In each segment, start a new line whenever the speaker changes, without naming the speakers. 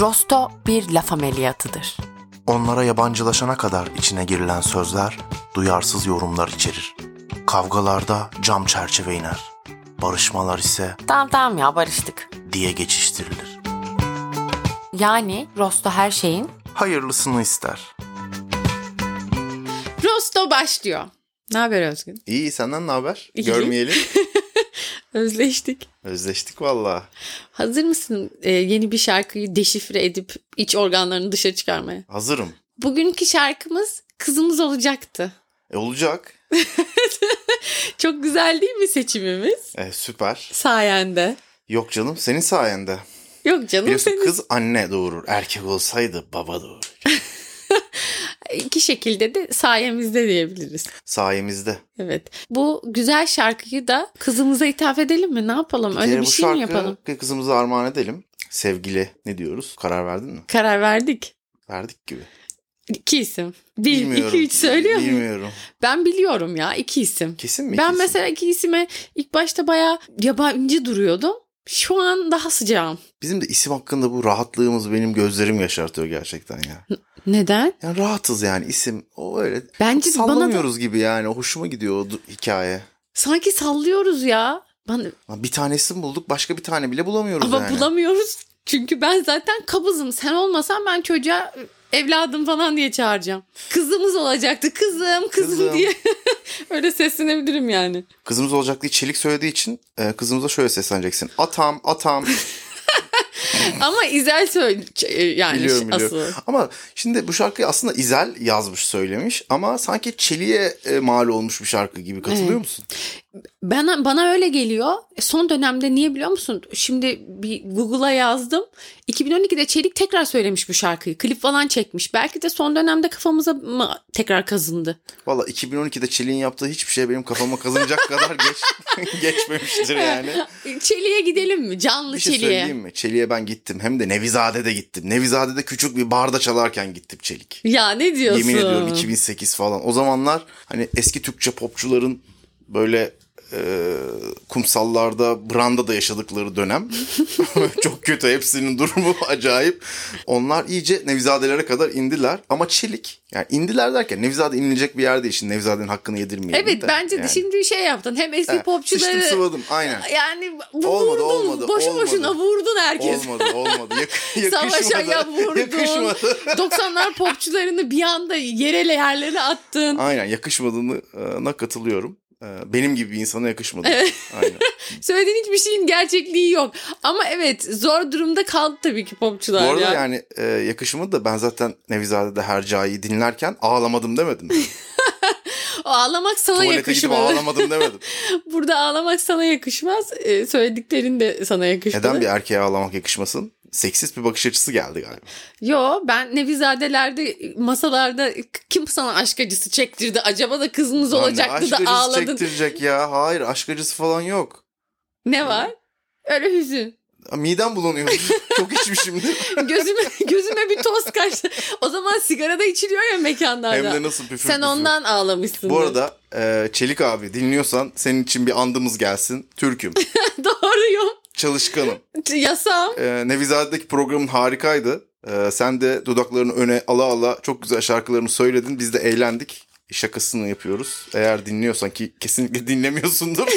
Rosto bir laf ameliyatıdır.
Onlara yabancılaşana kadar içine girilen sözler duyarsız yorumlar içerir. Kavgalarda cam çerçeve iner. Barışmalar ise
Tamam tamam ya barıştık.
diye geçiştirilir.
Yani Rosto her şeyin
Hayırlısını ister.
Rosto başlıyor. Ne haber Özgün?
İyi senden ne haber?
İyi.
Görmeyelim.
Özleştik.
Özleştik valla.
Hazır mısın e, yeni bir şarkıyı deşifre edip iç organlarını dışarı çıkarmaya?
Hazırım.
Bugünkü şarkımız kızımız olacaktı.
E olacak.
Çok güzel değil mi seçimimiz?
E, süper.
Sayende.
Yok canım senin sayende.
Yok canım
Biliyorsun
senin
kız anne doğurur. Erkek olsaydı baba doğurur.
iki şekilde de sayemizde diyebiliriz.
Sayemizde.
Evet. Bu güzel şarkıyı da kızımıza ithaf edelim mi? Ne yapalım? Öyle
kere
bir
bu
şey mi
şarkı
yapalım?
Kızımıza armağan edelim. Sevgili ne diyoruz? Karar verdin mi?
Karar verdik.
Verdik gibi.
İki isim. Bir, iki, üç söylüyor mu?
Bilmiyorum.
Ben biliyorum ya iki isim.
Kesin mi?
ben
kesin?
mesela iki isime ilk başta bayağı yabancı duruyordum. Şu an daha sıcağım.
Bizim de isim hakkında bu rahatlığımız benim gözlerim yaşartıyor gerçekten ya.
Neden?
Yani rahatız yani isim. O öyle
Bence bana da
sallamıyoruz gibi yani. Hoşuma gidiyor o du- hikaye.
sanki sallıyoruz ya. Ben
Lan bir tanesini bulduk başka bir tane bile bulamıyoruz
Ama
yani.
bulamıyoruz. Çünkü ben zaten kabızım. Sen olmasan ben çocuğa e, evladım falan diye çağıracağım. Kızımız olacaktı. Kızım, kızım,
Kızım.
diye. Öyle seslenebilirim yani.
Kızımız olacak diye çelik söylediği için e, kızımıza şöyle sesleneceksin. Atam, atam.
Ama İzel söyle ç- e, yani
biliyorum
şey, asıl.
biliyorum. Ama şimdi bu şarkıyı aslında İzel yazmış söylemiş ama sanki Çeli'ye e, mal olmuş bir şarkı gibi katılıyor
Evet.
musun?
Ben bana öyle geliyor. E, Son dönemde niye biliyor musun? Şimdi bir Google'a yazdım. 2012'de Çelik tekrar söylemiş bu şarkıyı. Klip falan çekmiş. Belki de son dönemde kafamıza mı tekrar kazındı?
Valla 2012'de Çelik'in yaptığı hiçbir şey benim kafama kazınacak kadar geç, geçmemiştir yani.
Çeliğe gidelim mi? Canlı
Bir şey
Çeliğe.
söyleyeyim mi? Çelik'e ben gittim. Hem de Nevizade'de gittim. Nevizade'de küçük bir barda çalarken gittim Çelik.
Ya ne diyorsun?
Yemin ediyorum 2008 falan. O zamanlar hani eski Türkçe popçuların böyle e, kumsallarda, branda da yaşadıkları dönem. Çok kötü hepsinin durumu acayip. Onlar iyice Nevizadelere kadar indiler. Ama Çelik yani indiler derken Nevizade inilecek bir yer değil. Şimdi Nevizade'nin hakkını yedirmeyelim
Evet
de.
bence
Yani.
de şimdi şey yaptın. Hem eski
Ha,
popçuları
Sıçtım sıvadım aynen.
yani bu
Olmadı,
vurdun.
olmadı,
boşu
olmadı.
boşuna vurdun herkes.
Olmadı olmadı. Yak- yakışmadı.
Savaşa ya vurdun.
Yakışmadı.
90'lar popçularını bir anda yere yerlere attın.
Aynen e, yakışmadığına katılıyorum. Ee, Benim gibi bir insana yakışmadı. Aynen.
Söylediğin hiçbir şeyin gerçekliği yok. Ama evet zor durumda kaldı tabii ki
Bu
popçular
arada
ya.
yani e, yakışımı da ben zaten Nevizade'de Hercai'yi dinlerken ağlamadım demedim.
Ağlamak sana
Tuvalete gidip
yakışmaz.
ağlamadım demedim.
Burada ağlamak sana yakışmaz. Ee, söylediklerin de sana yakışmadı.
Neden bir erkeğe ağlamak yakışmasın? Seksist bir bakış açısı geldi galiba.
Yo ben nevizadelerde masalarda kim sana aşk acısı çektirdi acaba da kızımız
Lan ne
olacaktı
aşk
da
acısı
ağladın.
çektirecek ya. Hayır aşk acısı falan yok.
Ne var? Öyle hüzün.
Midem bulanıyor. Çok içmişimdir.
Gözüme gözüme bir toz kaçtı. O zaman sigara da içiliyor ya mekanlarda.
Hem de nasıl püfür
Sen
püfür.
ondan ağlamışsın.
Bu arada e, Çelik abi dinliyorsan senin için bir andımız gelsin. Türk'üm,
doğruyum.
çalışkanım.
Yasam.
E, Nevizade'deki programın harikaydı. E, sen de dudaklarını öne ala ala çok güzel şarkılarını söyledin. Biz de eğlendik. Şakasını yapıyoruz. Eğer dinliyorsan ki kesinlikle dinlemiyorsundur.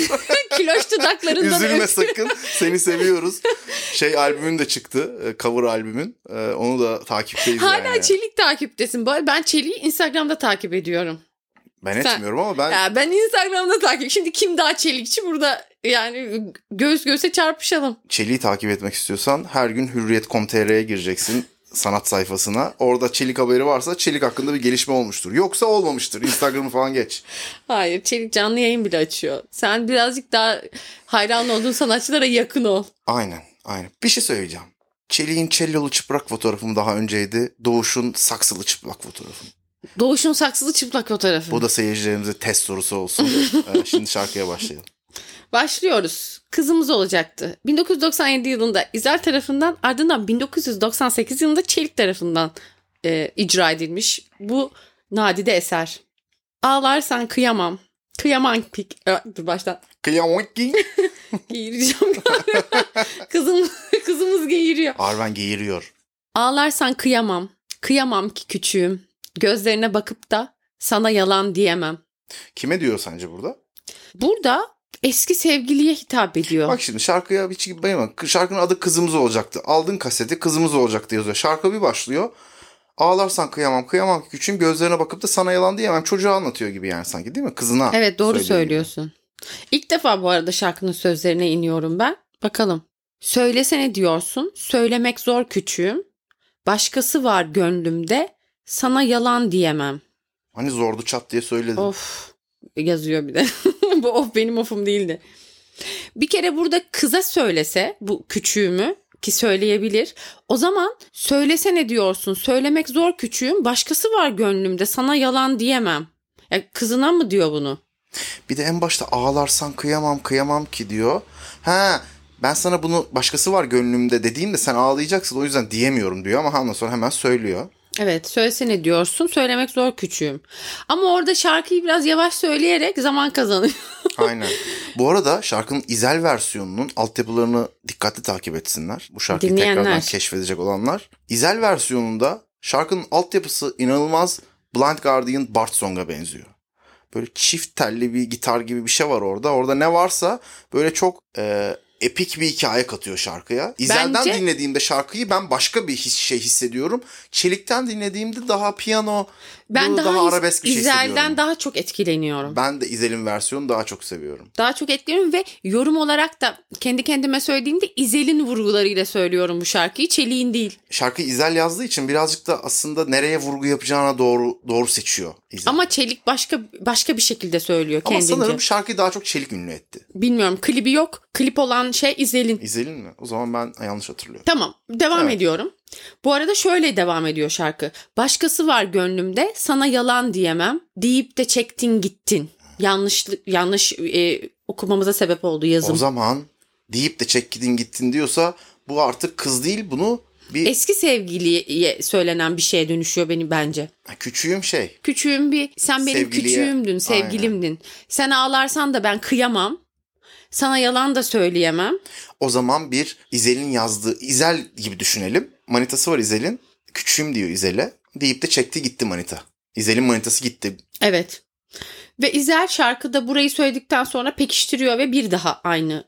Kiloş dudaklarından
Üzülme
öp-
sakın. Seni seviyoruz. Şey albümün de çıktı. e, Cover albümün. E, Onu da takipteyiz
Hala
yani.
Çelik takiptesin. Bu arada Ben Çelik'i Instagram'da takip ediyorum.
Ben
sen-
etmiyorum ama ben
Ya ben Instagram'da takip. Şimdi kim daha Çelikçi burada yani göz göze çarpışalım.
Çelik'i takip etmek istiyorsan her gün hürriyet.com.tr'ye gireceksin sanat sayfasına. Orada Çelik haberi varsa Çelik hakkında bir gelişme olmuştur. Yoksa olmamıştır. Instagram'ı falan geç.
Hayır Çelik canlı yayın bile açıyor. Sen birazcık daha hayran olduğun sanatçılara yakın ol.
Aynen, aynen. Bir şey söyleyeceğim. Çelik'in çellolu çıprak fotoğrafım daha önceydi. Doğuş'un saksılı çıplak fotoğrafım.
Doğuş'un saksılı çıplak fotoğrafı.
Bu da seyircilerimize test sorusu olsun. Ee, Şimdi şarkıya başlayalım.
Başlıyoruz. Kızımız olacaktı. 1997 yılında İzel tarafından ardından 1998 yılında Çelik tarafından e, icra edilmiş bu nadide eser. Ağlarsan kıyamam. Kıyamam pik. Ö, Dur baştan.
Kıyamaki.
Geğireceğim galiba. Kızım, kızımız geğiriyor.
Arven geğiriyor.
Ağlarsan kıyamam. Kıyamam ki küçüğüm. Gözlerine bakıp da sana yalan diyemem.
Kime diyor sence burada?
Burada eski sevgiliye hitap ediyor.
Bak şimdi şarkıya hiç gibi bayılma. Şarkının adı Kızımız Olacaktı. Aldın kaseti Kızımız Olacaktı yazıyor. Şarkı bir başlıyor. Ağlarsan kıyamam, kıyamam ki küçüğüm gözlerine bakıp da sana yalan diyemem. Çocuğa anlatıyor gibi yani sanki değil mi? Kızına.
evet doğru
söylüyor gibi.
söylüyorsun. İlk defa bu arada şarkının sözlerine iniyorum ben. Bakalım. Söylesene diyorsun. Söylemek zor küçüğüm. Başkası var gönlümde. Sana yalan diyemem.
Hani zordu çat diye söyledim.
Of yazıyor bir de. bu of benim ofum değildi. Bir kere burada kıza söylese bu küçüğümü ki söyleyebilir. O zaman söylesene diyorsun. Söylemek zor küçüğüm. Başkası var gönlümde. Sana yalan diyemem. Ya kızına mı diyor bunu?
Bir de en başta ağlarsan kıyamam, kıyamam ki diyor. Ha ben sana bunu başkası var gönlümde dediğimde sen ağlayacaksın o yüzden diyemiyorum diyor ama ondan sonra hemen söylüyor.
Evet söylesene diyorsun. Söylemek zor küçüğüm. Ama orada şarkıyı biraz yavaş söyleyerek zaman kazanıyor.
Aynen. Bu arada şarkının izel versiyonunun altyapılarını dikkatli takip etsinler. Bu şarkıyı
Dinleyenler.
tekrardan keşfedecek olanlar. İzel versiyonunda şarkının altyapısı inanılmaz Blind Guardian Bart Song'a benziyor. Böyle çift telli bir gitar gibi bir şey var orada. Orada ne varsa böyle çok e, epik bir hikaye katıyor şarkıya. İzel'den
Bence-
dinlediğimde şarkıyı ben başka bir his, şey hissediyorum. Çelik'ten dinlediğimde daha piyano,
Ben
böyle
daha,
daha,
iz-
arabesk bir şey hissediyorum.
İzel'den daha çok etkileniyorum.
Ben de İzel'in versiyonunu daha çok seviyorum.
daha çok etkiliyorum ve yorum olarak da kendi kendime söylediğimde İzel'in vurgularıyla söylüyorum bu şarkıyı. Çelik'in değil.
şarkıyı İzel yazdığı için birazcık da aslında nereye vurgu yapacağına doğru doğru seçiyor İzel.
Ama Çelik başka başka bir şekilde söylüyor
Ama
kendince.
sanırım şarkıyı daha çok Çelik ünlü etti.
Bilmiyorum klibi yok. Klip olan şey İzel'in.
İzel'in mi? O zaman ben yanlış hatırlıyorum.
Tamam devam
Evet.
ediyorum. Bu arada şöyle devam ediyor şarkı. Başkası var gönlümde sana yalan diyemem deyip de çektin gittin. Yanlış yanlış e, okumamıza sebep oldu yazım.
O zaman deyip de çek gidin gittin diyorsa bu artık kız değil bunu bir
Eski sevgiliye söylenen bir şeye dönüşüyor benim bence.
küçüğüm şey.
Küçüğüm bir sen benim
Sevgiliye.
küçüğümdün sevgilimdin. Sen ağlarsan da ben kıyamam. Sana yalan da söyleyemem.
O zaman bir İzel'in yazdığı İzel gibi düşünelim. Manitası var İzel'in. Küçüğüm diyor İzel'e. Deyip de çekti gitti manita. İzel'in manitası gitti.
Evet. Ve İzel şarkıda burayı söyledikten sonra pekiştiriyor ve bir daha aynı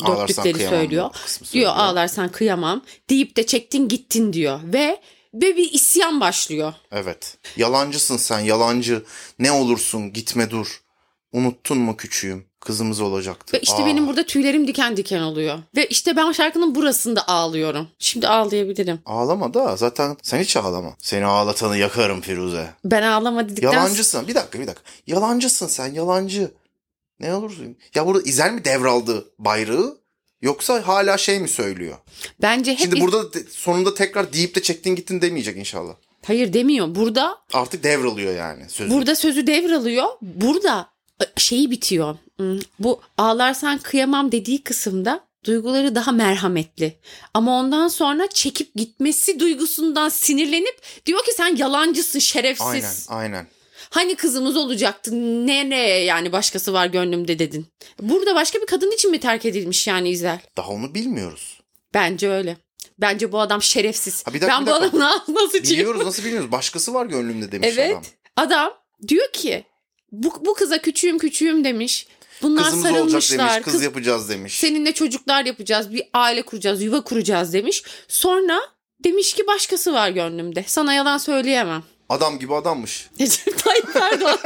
Ağlarsan
dörtlükleri
kıyamam.
söylüyor.
kısmı söylüyor.
Diyor ağlarsan kıyamam deyip de çektin gittin diyor ve ve bir isyan başlıyor.
Evet. Yalancısın sen yalancı. Ne olursun gitme dur. Unuttun mu küçüğüm? Kızımız olacaktı.
Ve işte
Aa,
benim burada tüylerim diken diken oluyor. Ve işte ben şarkının burasında ağlıyorum. Şimdi ağlayabilirim.
Ağlama da zaten sen hiç ağlama. Seni ağlatanı yakarım Firuze.
Ben ağlama dedikten
Yalancısın. Bir dakika bir dakika. Yalancısın sen yalancı. Ne olursun. Ya burada İzel mi devraldı bayrağı? Yoksa hala şey mi söylüyor?
bence hep
Şimdi
İz-
burada de- sonunda tekrar deyip de çektin gittin demeyecek inşallah.
hayır demiyor. Burada
Artık devralıyor yani sözü.
Burada sözü devralıyor. Burada e, şeyi bitiyor. Hmm, Bu ağlarsan kıyamam dediği kısımda duyguları daha merhametli. Ama ondan sonra çekip gitmesi duygusundan sinirlenip diyor ki sen yalancısın şerefsiz.
aynen aynen.
Hani kızımız olacaktı nereye yani başkası var gönlümde dedin. Burada başka bir kadın için mi terk edilmiş yani İzel?
Daha onu bilmiyoruz.
Bence öyle. Bence bu adam şerefsiz.
Ha, bir dakika,
ben
bir
bu
dakika.
adamın ağzına sıçayım.
Biliyoruz nasıl bilmiyoruz. Başkası var gönlümde demiş
Evet.
adam.
Adam diyor ki bu, bu kıza küçüğüm küçüğüm demiş. Bunlar
Kızımız olacak
sarılmışlar.
demiş. Kız,
Kız-
yapacağız demiş.
seninle çocuklar yapacağız. Bir aile kuracağız. Yuva kuracağız demiş. Sonra demiş ki başkası var gönlümde. Sana yalan söyleyemem.
Adam gibi adammış.
Recep Tayyip Erdoğan.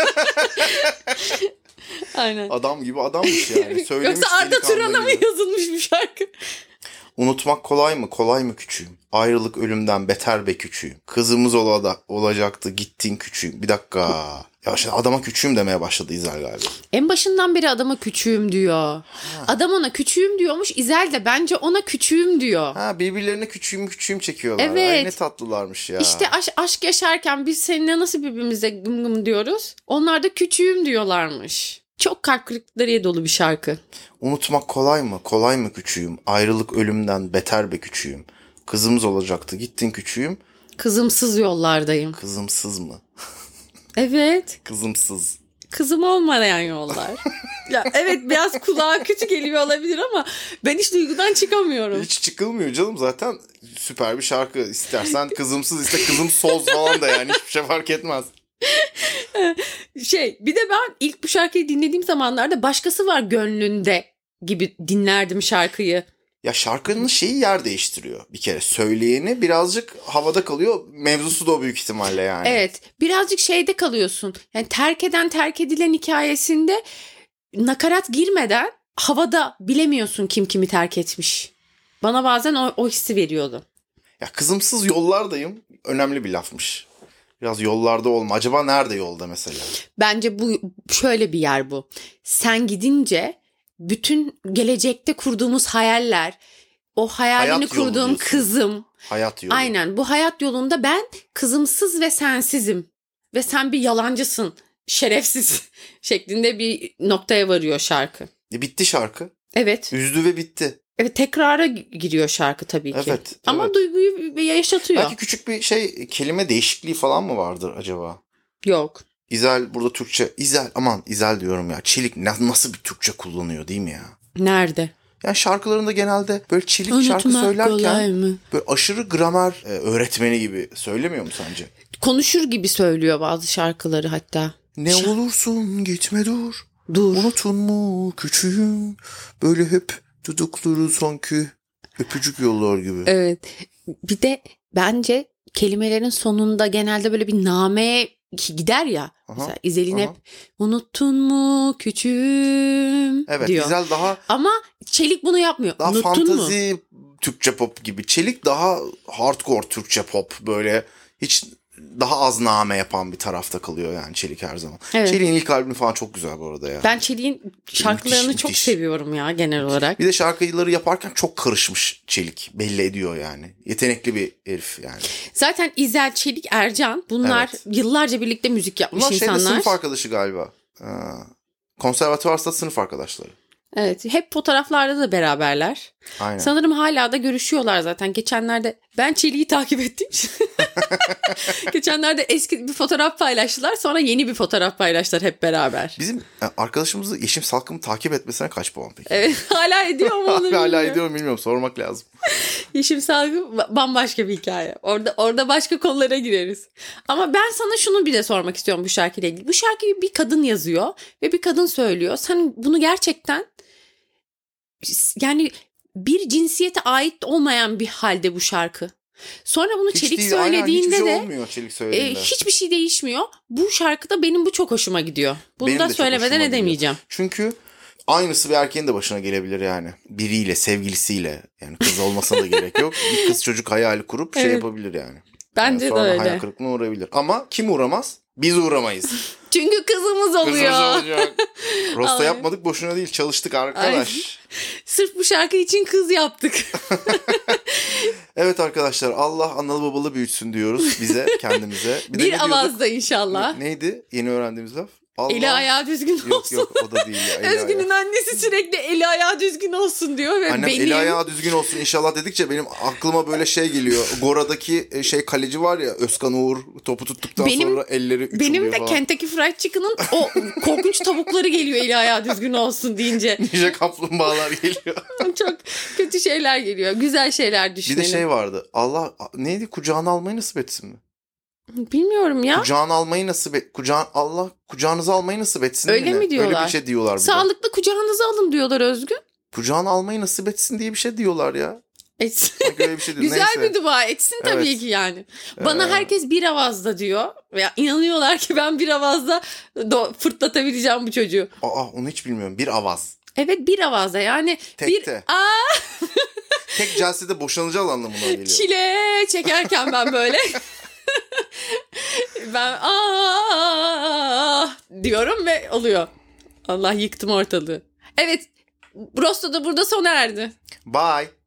Aynen.
Adam gibi adammış yani. Söylemiş
Yoksa Arda
delikanlı
Turan'a mı
gibi.
yazılmış bu şarkı?
Unutmak kolay mı? Kolay mı küçüğüm? Ayrılık ölümden beter be küçüğüm. Kızımız ola da, olacaktı gittin küçüğüm. Bir dakika. Ya şimdi adama küçüğüm demeye başladı İzel galiba.
En başından beri adama küçüğüm diyor. Adam ona küçüğüm diyormuş. İzel de bence ona küçüğüm diyor.
Ha birbirlerine küçüğüm küçüğüm çekiyorlar.
Evet.
Ay ne tatlılarmış ya.
İşte aş- aşk yaşarken biz seninle nasıl birbirimize gım gım diyoruz? Onlar da küçüğüm diyorlarmış. Çok kalp kırıklıklarıya dolu bir şarkı.
Unutmak kolay mı? Kolay mı küçüğüm? Ayrılık ölümden beter be küçüğüm. Kızımız olacaktı gittin küçüğüm.
Kızımsız yollardayım.
Kızımsız mı?
Evet.
Kızımsız.
kızım olmayan yollar. ya evet biraz kulağa kötü geliyor olabilir ama ben hiç duygudan çıkamıyorum.
Hiç çıkılmıyor canım zaten süper bir şarkı istersen kızımsız iste kızım soz falan da yani hiçbir şey fark etmez.
Şey bir de ben ilk bu şarkıyı dinlediğim zamanlarda başkası var gönlünde gibi dinlerdim şarkıyı.
Ya şarkının şeyi yer değiştiriyor bir kere. Söyleyeni birazcık havada kalıyor. Mevzusu da o büyük ihtimalle yani.
Evet birazcık şeyde kalıyorsun. Yani terk eden terk edilen hikayesinde nakarat girmeden havada bilemiyorsun kim kimi terk etmiş. Bana bazen o, o hissi veriyordu.
Ya kızımsız yollardayım önemli bir lafmış. Biraz yollarda olma. Acaba nerede yolda mesela?
Bence bu şöyle bir yer bu. Sen gidince bütün gelecekte kurduğumuz hayaller, o
Hayat
hayalini
yolu
kurduğum
diyorsun.
kızım.
Hayat yolu.
Aynen bu hayat yolunda ben kızımsız ve sensizim ve sen bir yalancısın, şerefsiz şeklinde bir noktaya varıyor şarkı.
E, bitti şarkı.
Evet.
Üzdü ve bitti.
Evet tekrara gi- giriyor şarkı tabii ki.
Evet,
Ama
evet.
duyguyu yaşatıyor.
Belki küçük bir şey kelime değişikliği falan mı vardır acaba?
Yok.
İzel burada Türkçe. İzel aman İzel diyorum ya. Çelik na- nasıl bir Türkçe kullanıyor değil mi ya?
Nerede?
Yani şarkılarında genelde böyle çelik şarkı söylerken
mı?
böyle aşırı gramer e, öğretmeni gibi söylemiyor mu sence?
Konuşur gibi söylüyor bazı şarkıları hatta.
Ne olursun gitme dur.
Dur.
Unutun mu küçüğüm? Böyle hep dudukları sanki öpücük yollar gibi.
Evet. Bir de bence kelimelerin sonunda genelde böyle bir nameye ki- gider ya.
Aha,
Mesela İzel'in
aha.
hep unuttun mu küçüğüm
Evet
diyor.
İzel daha
Ama Çelik bunu yapmıyor.
daha
unuttun mu?
fantazi Türkçe pop gibi. Çelik daha hardcore Türkçe pop böyle hiç daha az name yapan bir tarafta kalıyor yani Çelik her zaman.
Evet.
Çelik'in ilk albümü falan çok güzel bu arada ya.
Ben Çelik'in şarkılarını
Müthiş,
çok
müthiş.
seviyorum ya genel olarak.
Bir de şarkıları yaparken çok karışmış Çelik. Belli ediyor yani. Yetenekli bir herif yani.
Zaten İzel, Çelik, Ercan bunlar
Evet.
yıllarca birlikte müzik yapmış
Bunlar şeyde
insanlar.
sınıf arkadaşı galiba. Ha. Konservatuvarsta sınıf arkadaşları.
Evet, hep fotoğraflarda da beraberler.
Aynen.
Sanırım hala da görüşüyorlar zaten. Geçenlerde ben Çelik'i takip ettim. Geçenlerde eski bir fotoğraf paylaştılar, sonra yeni bir fotoğraf paylaştılar hep beraber.
Bizim e, arkadaşımızı Yeşim Salkım'ı takip etmesine kaç puan peki?
Evet, hala ediyor mu onu
Hala,
bilmiyorum.
hala ediyorum bilmiyorum sormak lazım.
Yeşim Salgı ba- bambaşka bir hikaye. Orada orada başka konulara gireriz. Ama ben sana şunu bir de sormak istiyorum bu şarkıyla ilgili. Bu şarkıyı bir kadın yazıyor ve bir kadın söylüyor. Sen bunu gerçekten yani bir cinsiyete ait olmayan bir halde bu şarkı. Sonra bunu
Hiç
Çelik
değil, aynen,
söylediğinde
hiçbir
de
şey olmuyor Çelik
e,
söylediğinde.
hiçbir şey değişmiyor. Bu şarkıda benim bu çok hoşuma gidiyor. Bunu
Benim de
da
çok
söylemeden
hoşuma
edemeyeceğim.
Çünkü aynısı bir erkeğin de başına gelebilir yani. Biriyle, sevgilisiyle. Yani kız olmasa da gerek yok. Bir kız çocuk hayali kurup şey
Evet.
yapabilir yani.
Bence
yani
de
sonra hayal
öyle.
kırıklığına uğrayabilir. Ama kim uğramaz? Biz uğramayız.
Çünkü kızımız oluyor.
Kızımız olacak. Rosta
Ay.
yapmadık boşuna değil. Çalıştık arkadaş.
Sırf bu şarkı için kız yaptık.
Evet arkadaşlar Allah analı babalı büyütsün diyoruz bize kendimize. Bir, de ne
bir
diyorduk?
avazda inşallah.
Ne- neydi yeni öğrendiğimiz laf? Allah...
Eli ayağı düzgün
Yok
olsun.
yok o da değil. ya, eli
Özgün'ün
ayağı.
annesi sürekli eli ayağı düzgün olsun diyor ve
Annem
benim
eli ayağı düzgün olsun inşallah dedikçe benim aklıma böyle şey geliyor. Gora'daki e, şey kaleci var ya Özkan Uğur topu tuttuktan
Benim-
sonra elleri üç
benim
oluyor
de
falan.
Kentucky Fried Chicken'ın o korkunç tavukları geliyor eli ayağı düzgün olsun deyince.
Ninja kaplumbağalar geliyor.
Çok kötü şeyler geliyor. Güzel şeyler
Bir
düşünelim.
de şey vardı. Allah neydi kucağına almayı nasip etsin mi?
Bilmiyorum ya.
Kucağına almayı nasip et. Kucağın Allah kucağınıza almayı nasip etsin
Öyle
mi? ne?
mi
Öyle
diyorlar?
bir şey diyorlar bir de.
Sağlıklı kucağınıza alın diyorlar Özgün.
Kucağına almayı nasip etsin diye bir şey diyorlar ya.
Etsin.
Sanki öyle bir şey diyor.
Güzel
Neyse.
bir dua etsin tabii
Evet.
ki yani. Bana
Ee,
herkes bir avazda diyor. Ya inanıyorlar ki ben bir avazda do- fırlatabileceğim bu çocuğu.
Aa onu hiç bilmiyorum. Bir avaz.
Evet bir avazda yani bir
Tekte.
aa
Tek celsede boşanacağız anlamına geliyor.
çile çekerken ben böyle ben aa diyorum ve oluyor. Allah yıktım ortalığı. Evet Rosto da burada sona erdi.
Bye.